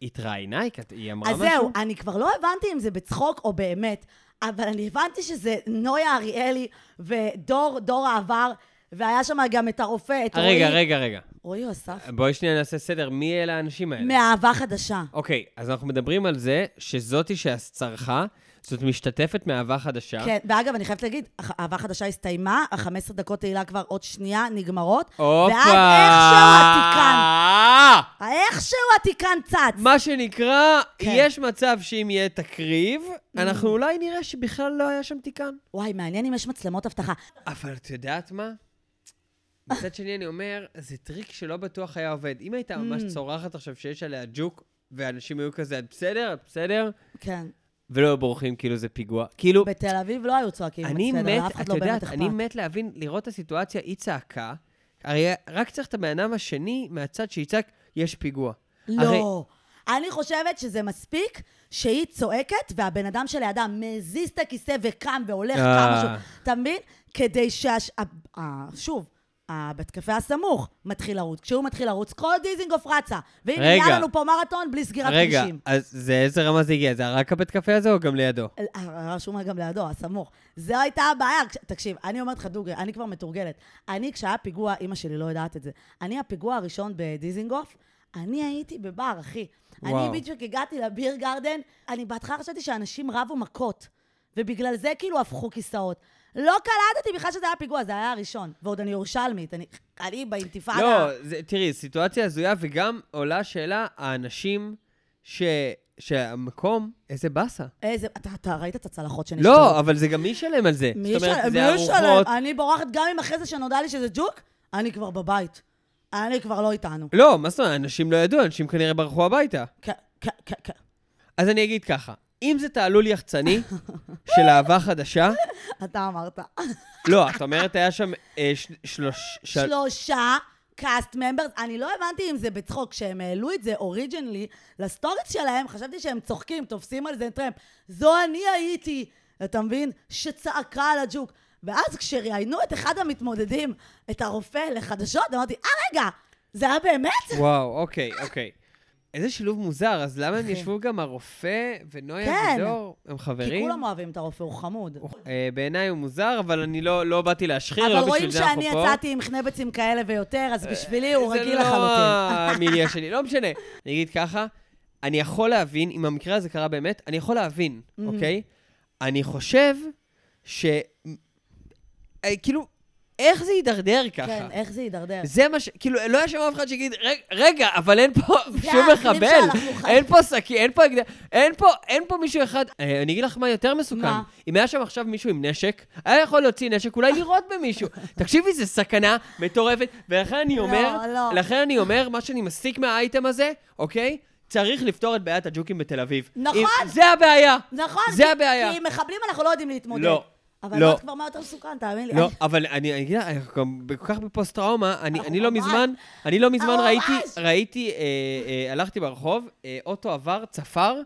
Speaker 2: התראיינה, היא כת- היא אמרה
Speaker 1: אז
Speaker 2: משהו?
Speaker 1: זהו, אני כבר לא הבנתי אם זה בצחוק או באמת, אבל אני הבנתי שזה נויה אריאלי ודור, דור העבר, והיה שם גם את הרופא, את רועי.
Speaker 2: רגע, רגע, רגע.
Speaker 1: רועי או אסף?
Speaker 2: בואי שנייה נעשה סדר, מי אלה האנשים האלה?
Speaker 1: מאהבה חדשה.
Speaker 2: אוקיי, אז אנחנו מדברים על זה שזאתי שצרכה, זאת משתתפת מאהבה חדשה.
Speaker 1: כן, ואגב, אני חייבת להגיד, הח- אהבה חדשה הסתיימה, ה-15 דקות תהילה כבר עוד שנייה נגמרות,
Speaker 2: הופה! אה!
Speaker 1: ואז איכשהו התיקן, איכשהו התיקן צץ.
Speaker 2: מה שנקרא,
Speaker 1: כן.
Speaker 2: יש מצב שאם יהיה תקריב, אנחנו אולי נראה שבכלל לא היה שם תיקן.
Speaker 1: וואי, מעניין אם יש מצלמות אבטחה.
Speaker 2: אבל את יודעת מה? מצד שני, אני אומר, זה טריק שלא בטוח היה עובד. אם הייתה ממש צורחת עכשיו שיש עליה ג'וק, ואנשים היו כזה, את בסדר, את בסדר,
Speaker 1: כן,
Speaker 2: ולא היו בורחים כאילו זה פיגוע. כאילו,
Speaker 1: בתל אביב לא היו צועקים,
Speaker 2: אני
Speaker 1: בסדר,
Speaker 2: מת,
Speaker 1: לאף אחד
Speaker 2: את
Speaker 1: לא באמת
Speaker 2: יודעת,
Speaker 1: אכפת.
Speaker 2: אני מת להבין, לראות את הסיטואציה, היא צעקה, הרי רק צריך את הבן אדם השני מהצד שיצעק, יש פיגוע. הרי-
Speaker 1: לא. אני חושבת שזה מספיק שהיא צועקת והבן אדם שלידה מזיז את הכיסא וקם והולך
Speaker 2: אה.
Speaker 1: כמה משהו, אתה מבין? כדי שה... ה- ה- שוב, הבית קפה הסמוך מתחיל לרוץ. כשהוא מתחיל לרוץ, כל דיזינגוף רצה. והנה,
Speaker 2: רגע.
Speaker 1: היה לנו פה מרתון בלי סגירת
Speaker 2: רגע,
Speaker 1: כבישים.
Speaker 2: אז זה איזה רמה זה הגיע? זה רק הבית קפה הזה או גם לידו?
Speaker 1: אה, רשום גם לידו, הסמוך. זו הייתה הבעיה. כש- תקשיב, אני אומרת לך דוגרי, אני כבר מתורגלת. אני, כשהיה פיגוע, אימא שלי לא יודעת את זה. אני, הפיגוע הראשון בדיזינגוף, אני הייתי בבר, אחי.
Speaker 2: וואו.
Speaker 1: אני בדיוק הגעתי לביר גרדן, אני בהתחלה חשבתי שאנשים רבו מכות, ובגלל זה כאילו הפכו כיסאות. לא קלטתי בכלל שזה היה פיגוע, זה היה הראשון. ועוד אני ירושלמית, אני, אני באינתיפאדה.
Speaker 2: לא, זה- תראי, סיטואציה הזויה, וגם עולה שאלה, האנשים ש... שהמקום, איזה באסה.
Speaker 1: איזה, אתה, אתה ראית את הצלחות שנשתו?
Speaker 2: לא, אבל זה גם מי ישלם על זה.
Speaker 1: מי
Speaker 2: זאת אומרת,
Speaker 1: ישלם?
Speaker 2: זה
Speaker 1: מי ישלם? אה-
Speaker 2: ארוחות.
Speaker 1: אני בורחת גם אם אחרי זה שנודע לי שזה ג'וק, אני כבר בבית. אני כבר לא איתנו.
Speaker 2: לא, מה זאת אומרת, אנשים לא ידעו, אנשים כנראה ברחו הביתה.
Speaker 1: כן, כן, כן, כן.
Speaker 2: אז אני אגיד ככה, אם זה תעלול יחצני של אהבה חדשה,
Speaker 1: אתה אמרת.
Speaker 2: לא, את אומרת, היה שם אה, ש- שלוש... של-
Speaker 1: שלושה קאסט ממברס. אני לא הבנתי אם זה בצחוק, כשהם העלו את זה אוריג'נלי לסטוריס שלהם, חשבתי שהם צוחקים, תופסים על זה טרמפ. זו אני הייתי, אתה מבין? שצעקה על הג'וק. ואז כשראיינו את אחד המתמודדים, את הרופא לחדשות, אמרתי, אה, רגע, זה היה באמת?
Speaker 2: וואו, אוקיי, אוקיי. איזה שילוב מוזר, אז למה הם
Speaker 1: אחי.
Speaker 2: ישבו גם הרופא ונויה
Speaker 1: כן.
Speaker 2: ודור? הם חברים?
Speaker 1: כי כולם אוהבים את הרופא, הוא חמוד.
Speaker 2: אה, בעיניי הוא מוזר, אבל אני לא, לא באתי להשחיר,
Speaker 1: אבל
Speaker 2: לא
Speaker 1: רואים
Speaker 2: בשביל זה אנחנו
Speaker 1: שאני
Speaker 2: פה. אה,
Speaker 1: יצאתי עם חנבצים כאלה ויותר, אז בשבילי הוא רגיל
Speaker 2: זה לא
Speaker 1: לחלוטין.
Speaker 2: המיליה שלי, לא משנה. אני אגיד ככה, אני יכול להבין, אם המקרה הזה קרה באמת,
Speaker 1: Mm-hmm.
Speaker 2: אני יכול להבין, אוקיי? אני חושב ש... אה, כאילו, איך זה הידרדר ככה?
Speaker 1: כן, איך זה הידרדר?
Speaker 2: זה מה ש... כאילו, לא היה שם אף אחד שיגיד, "רג- רגע, אבל אין פה שום
Speaker 1: האחים
Speaker 2: מחבל,
Speaker 1: שאנחנו חיים."
Speaker 2: אין פה שקי, אין פה אקדח, אין פה, אין פה מישהו אחד. אה, אני אגיד לך מה יותר מסוכן.
Speaker 1: מה?
Speaker 2: אם היה שם עכשיו מישהו עם נשק, היה יכול להוציא נשק, אולי לירות במישהו. תקשיבי, זו סכנה מטורפת, ולכן אני
Speaker 1: לא,
Speaker 2: אומר,
Speaker 1: לא.
Speaker 2: לכן אני אומר, מה שאני מסיק מהאייטם הזה, אוקיי? צריך לפתור את בעיית הג'וקים בתל אביב.
Speaker 1: נכון.
Speaker 2: אם- זה הבעיה.
Speaker 1: נכון,
Speaker 2: זה
Speaker 1: כי-
Speaker 2: הבעיה.
Speaker 1: כי עם מחבלים אנחנו לא יודעים להתמודד.
Speaker 2: לא,
Speaker 1: אבל
Speaker 2: לא.
Speaker 1: זאת כבר מה יותר מסוכן, תאמין לי.
Speaker 2: לא, אבל אני אני אגיד לך, אנחנו גם כל כך בפוסט-טראומה, אני
Speaker 1: אנחנו
Speaker 2: אני לא
Speaker 1: ממש-
Speaker 2: מזמן, אני לא מזמן
Speaker 1: אנחנו
Speaker 2: ראיתי,
Speaker 1: ממש-
Speaker 2: ראיתי, אה, אה, הלכתי ברחוב, אה, אוטו עבר, צפר,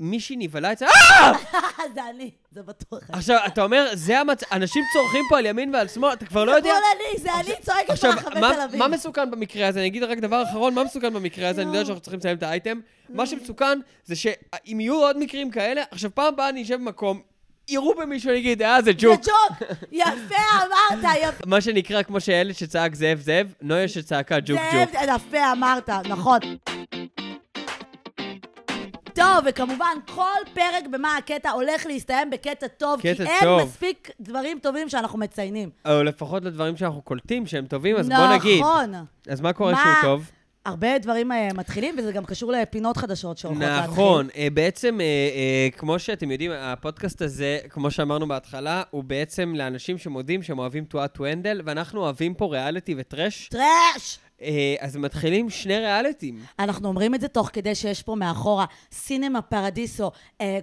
Speaker 2: מישהי נבהלה אצל... אה!
Speaker 1: זה אני, זה בטוח. אני.
Speaker 2: עכשיו, אתה אומר, זה המצב, אנשים צורכים פה על ימין ועל שמאל, אתה כבר לא
Speaker 1: זה
Speaker 2: יודע.
Speaker 1: כל אני, זה אני צועקת
Speaker 2: עכשיו,
Speaker 1: ברחבי
Speaker 2: מה-
Speaker 1: תל אביב.
Speaker 2: מה מסוכן במקרה הזה? אני אגיד רק דבר אחרון, מה מסוכן במקרה הזה? אני יודע
Speaker 1: נו.
Speaker 2: שאנחנו צריכים לסיים את האייטם. מה שמסוכן זה שאם יהיו עוד מקרים כאלה, עכשיו, פעם הבאה אני אשב במקום, יראו במישהו, אני אגיד, אה, זה
Speaker 1: זה
Speaker 2: ג'וק.
Speaker 1: ג'וק. יפה אמרת, יפה.
Speaker 2: מה שנקרא, כמו שהילד שצעק זאב זאב, נויה שצעקה ג'וק ג'וק.
Speaker 1: זה יפה אמרת, נכון. טוב, וכמובן, כל פרק במה הקטע הולך להסתיים בקטע טוב, כי
Speaker 2: קטע
Speaker 1: אין
Speaker 2: טוב.
Speaker 1: מספיק דברים טובים שאנחנו מציינים.
Speaker 2: או לפחות לדברים שאנחנו קולטים שהם טובים, אז בוא נגיד.
Speaker 1: נכון.
Speaker 2: אז מה קורה
Speaker 1: מה?
Speaker 2: שהוא טוב?
Speaker 1: הרבה דברים אה, מתחילים, וזה גם קשור לפינות חדשות שהולכות להתחיל.
Speaker 2: נכון, אה, בעצם, אה, אה, כמו שאתם יודעים, הפודקאסט הזה, כמו שאמרנו בהתחלה, הוא בעצם לאנשים שמודים שהם אוהבים to add to handle, ואנחנו אוהבים פה ריאליטי וטרש,
Speaker 1: טראש!
Speaker 2: אה, אז מתחילים שני ריאליטים.
Speaker 1: אנחנו אומרים את זה תוך כדי שיש פה מאחורה אה, סינמה פרדיסו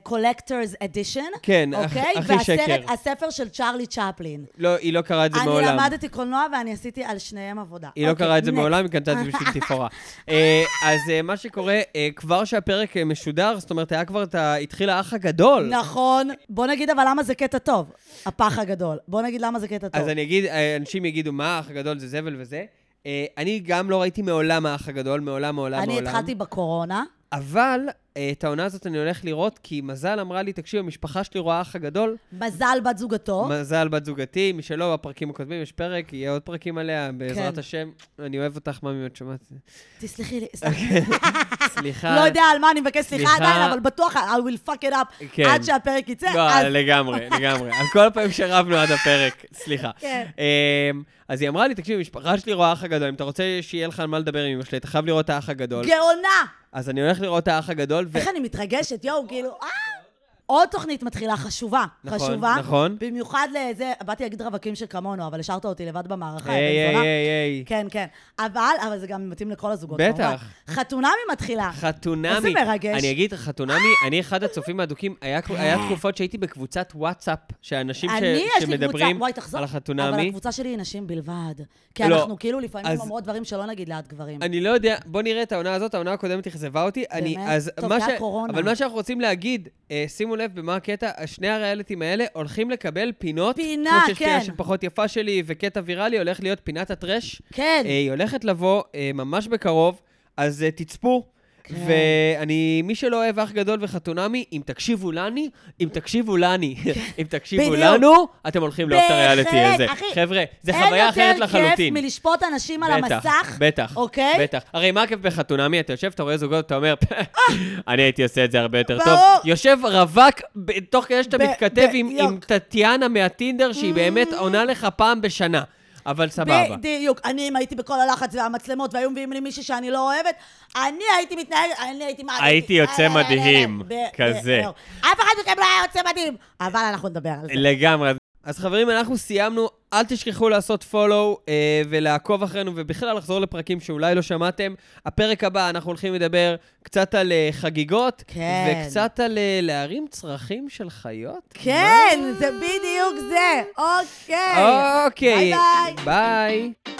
Speaker 1: קולקטורס אדישן.
Speaker 2: כן, הכ- הכי
Speaker 1: אוקיי? והסרט,
Speaker 2: שקר.
Speaker 1: הספר של צ'ארלי צ'פלין.
Speaker 2: לא, היא לא קראה את זה
Speaker 1: אני
Speaker 2: מעולם.
Speaker 1: למדתי קולנוע ואני עשיתי על שניהם עבודה.
Speaker 2: היא לא
Speaker 1: אוקיי,
Speaker 2: קראה את זה
Speaker 1: next.
Speaker 2: מעולם, היא קנתה את זה בשביל תפאורה. אה, אז אה, מה שקורה, אה, כבר שהפרק אה, משודר, זאת אומרת, היה כבר את ה... התחיל האח הגדול.
Speaker 1: נכון. בוא נגיד אבל למה זה קטע טוב, הפח הגדול. בוא נגיד למה זה קטע טוב.
Speaker 2: אז אני אגיד, אה, אנשים יגידו, מה, האח הגדול זה זבל וזה. אה, אני גם לא ראיתי מעולם האח הגדול, מעולם, מעולם,
Speaker 1: אני
Speaker 2: מעולם.
Speaker 1: התחלתי בקורונה.
Speaker 2: אבל אה, את העונה הזאת אני הולך לראות, כי מזל אמרה לי, תקשיב, המשפחה שלי רואה האח הגדול.
Speaker 1: מזל בת זוגתו.
Speaker 2: מזל בת זוגתי, מי שלא, בפרקים הקודמים יש פרק, יהיה עוד פרקים עליה, בעזרת
Speaker 1: כן.
Speaker 2: השם. אני אוהב אותך, מה אם את שומעת את זה?
Speaker 1: תסלחי לי, סליחה.
Speaker 2: אוקיי. סליחה.
Speaker 1: לא יודע על מה אני מבקש סליחה
Speaker 2: סליחה.
Speaker 1: עדיין, אבל בטוח, I will fuck it up.
Speaker 2: כן.
Speaker 1: עד שהפרק יצא,
Speaker 2: לא,
Speaker 1: אז
Speaker 2: לגמרי, לגמרי. על כל הפעמים שרבנו עד הפרק, סליחה.
Speaker 1: כן.
Speaker 2: אמ, אז היא אמרה לי, תקשיב, המשפחה שלי רואה האח הגדול, אם אתה רוצה שיהיה לך על מה לדבר עם אמא שלי, אתה חייב לראות את האח הגדול.
Speaker 1: גאונה.
Speaker 2: אז אני הולך לראות את האח הגדול, ו...
Speaker 1: איך אני מתרגשת, יואו, כאילו, אה! עוד תוכנית מתחילה, חשובה.
Speaker 2: נכון,
Speaker 1: חשובה.
Speaker 2: נכון.
Speaker 1: במיוחד לזה, באתי להגיד רווקים שכמונו, אבל השארת אותי לבד במערכה.
Speaker 2: היי,
Speaker 1: יא
Speaker 2: היי,
Speaker 1: בן זונה.
Speaker 2: היי, היי.
Speaker 1: כן, כן. אבל, אבל זה גם מתאים לכל הזוגות,
Speaker 2: בטח.
Speaker 1: חתונמי מתחילה.
Speaker 2: חתונמי.
Speaker 1: איזה מרגש. אה!
Speaker 2: אני אגיד, חתונמי, אני אחד הצופים האדוקים, היה היה תקופות שהייתי בקבוצת וואטסאפ, שאנשים ש-
Speaker 1: אני, יש לי קבוצה,
Speaker 2: שמדברים
Speaker 1: וואי, תחזור.
Speaker 2: על
Speaker 1: אבל
Speaker 2: החתונמי.
Speaker 1: הקבוצה שלי היא נשים בלבד. כי
Speaker 2: לא,
Speaker 1: אנחנו כאילו לפעמים
Speaker 2: אז-
Speaker 1: אומרות דברים שלא נגיד ליד גברים.
Speaker 2: אני לא יודע, בוא נראה את העונה הזאת, העונה הקודמת אכזבה אותי. אני,
Speaker 1: באמת?
Speaker 2: אז
Speaker 1: טוב,
Speaker 2: מה
Speaker 1: זה
Speaker 2: ש...
Speaker 1: הקורונה.
Speaker 2: אבל מה שאנחנו רוצים להגיד, אה, שימו לב במה הקטע, שני הריאליטים האלה הולכים לקבל פינות.
Speaker 1: פינה,
Speaker 2: כמו שיש פינה
Speaker 1: כן.
Speaker 2: של פחות יפה שלי וקטע ויראלי, הולך להיות פינת הטרש.
Speaker 1: כן.
Speaker 2: אה, היא הולכת לבוא אה, ממש בקרוב, אז אה, תצפו.
Speaker 1: כן.
Speaker 2: ואני, מי שלא אוהב אח גדול וחתונמי, אם תקשיבו לנו, אם תקשיבו לנו, אם תקשיבו
Speaker 1: כן. בדיוק.
Speaker 2: לנו, אתם הולכים לאהוב את הריאליטי
Speaker 1: בהחלט,
Speaker 2: הזה.
Speaker 1: אחי.
Speaker 2: חבר'ה, זה חוויה אחרת
Speaker 1: אין יותר כיף
Speaker 2: לחלוטין.
Speaker 1: מלשפוט אנשים על המסך.
Speaker 2: בטח,
Speaker 1: אוקיי?
Speaker 2: בטח. הרי מה הכיף בחתונמי? אתה יושב, אתה רואה זוגות, אתה אומר, אני הייתי עושה את זה הרבה יותר טוב.
Speaker 1: אה." ברור.
Speaker 2: יושב רווק, ב- תוך כדי שאתה
Speaker 1: ב-
Speaker 2: מתכתב עם-
Speaker 1: בדיוק. Mm-hmm.
Speaker 2: עם טטיאנה מהטינדר, שהיא באמת עונה לך פעם בשנה. אבל סבבה.
Speaker 1: בדיוק. אני, אם הייתי בכל הלחץ והמצלמות, והיו מביאים לי מישהי שאני לא אוהבת, אני הייתי מתנהגת, אני הייתי אה, מעדיף...
Speaker 2: הייתי יוצא מדהים,
Speaker 1: אה,
Speaker 2: כזה.
Speaker 1: אף אחד מכם לא היה יוצא מדהים, אבל אנחנו נדבר על זה.
Speaker 2: לגמרי. אז חברים, אנחנו סיימנו. אל תשכחו לעשות follow אה, ולעקוב אחרינו, ובכלל לחזור לפרקים שאולי לא שמעתם. הפרק הבא, אנחנו הולכים לדבר קצת על אה, חגיגות,
Speaker 1: כן.
Speaker 2: וקצת על אה, להרים צרכים של חיות.
Speaker 1: כן, זה בדיוק זה. אוקיי.
Speaker 2: אוקיי.
Speaker 1: ביי ביי.
Speaker 2: ביי.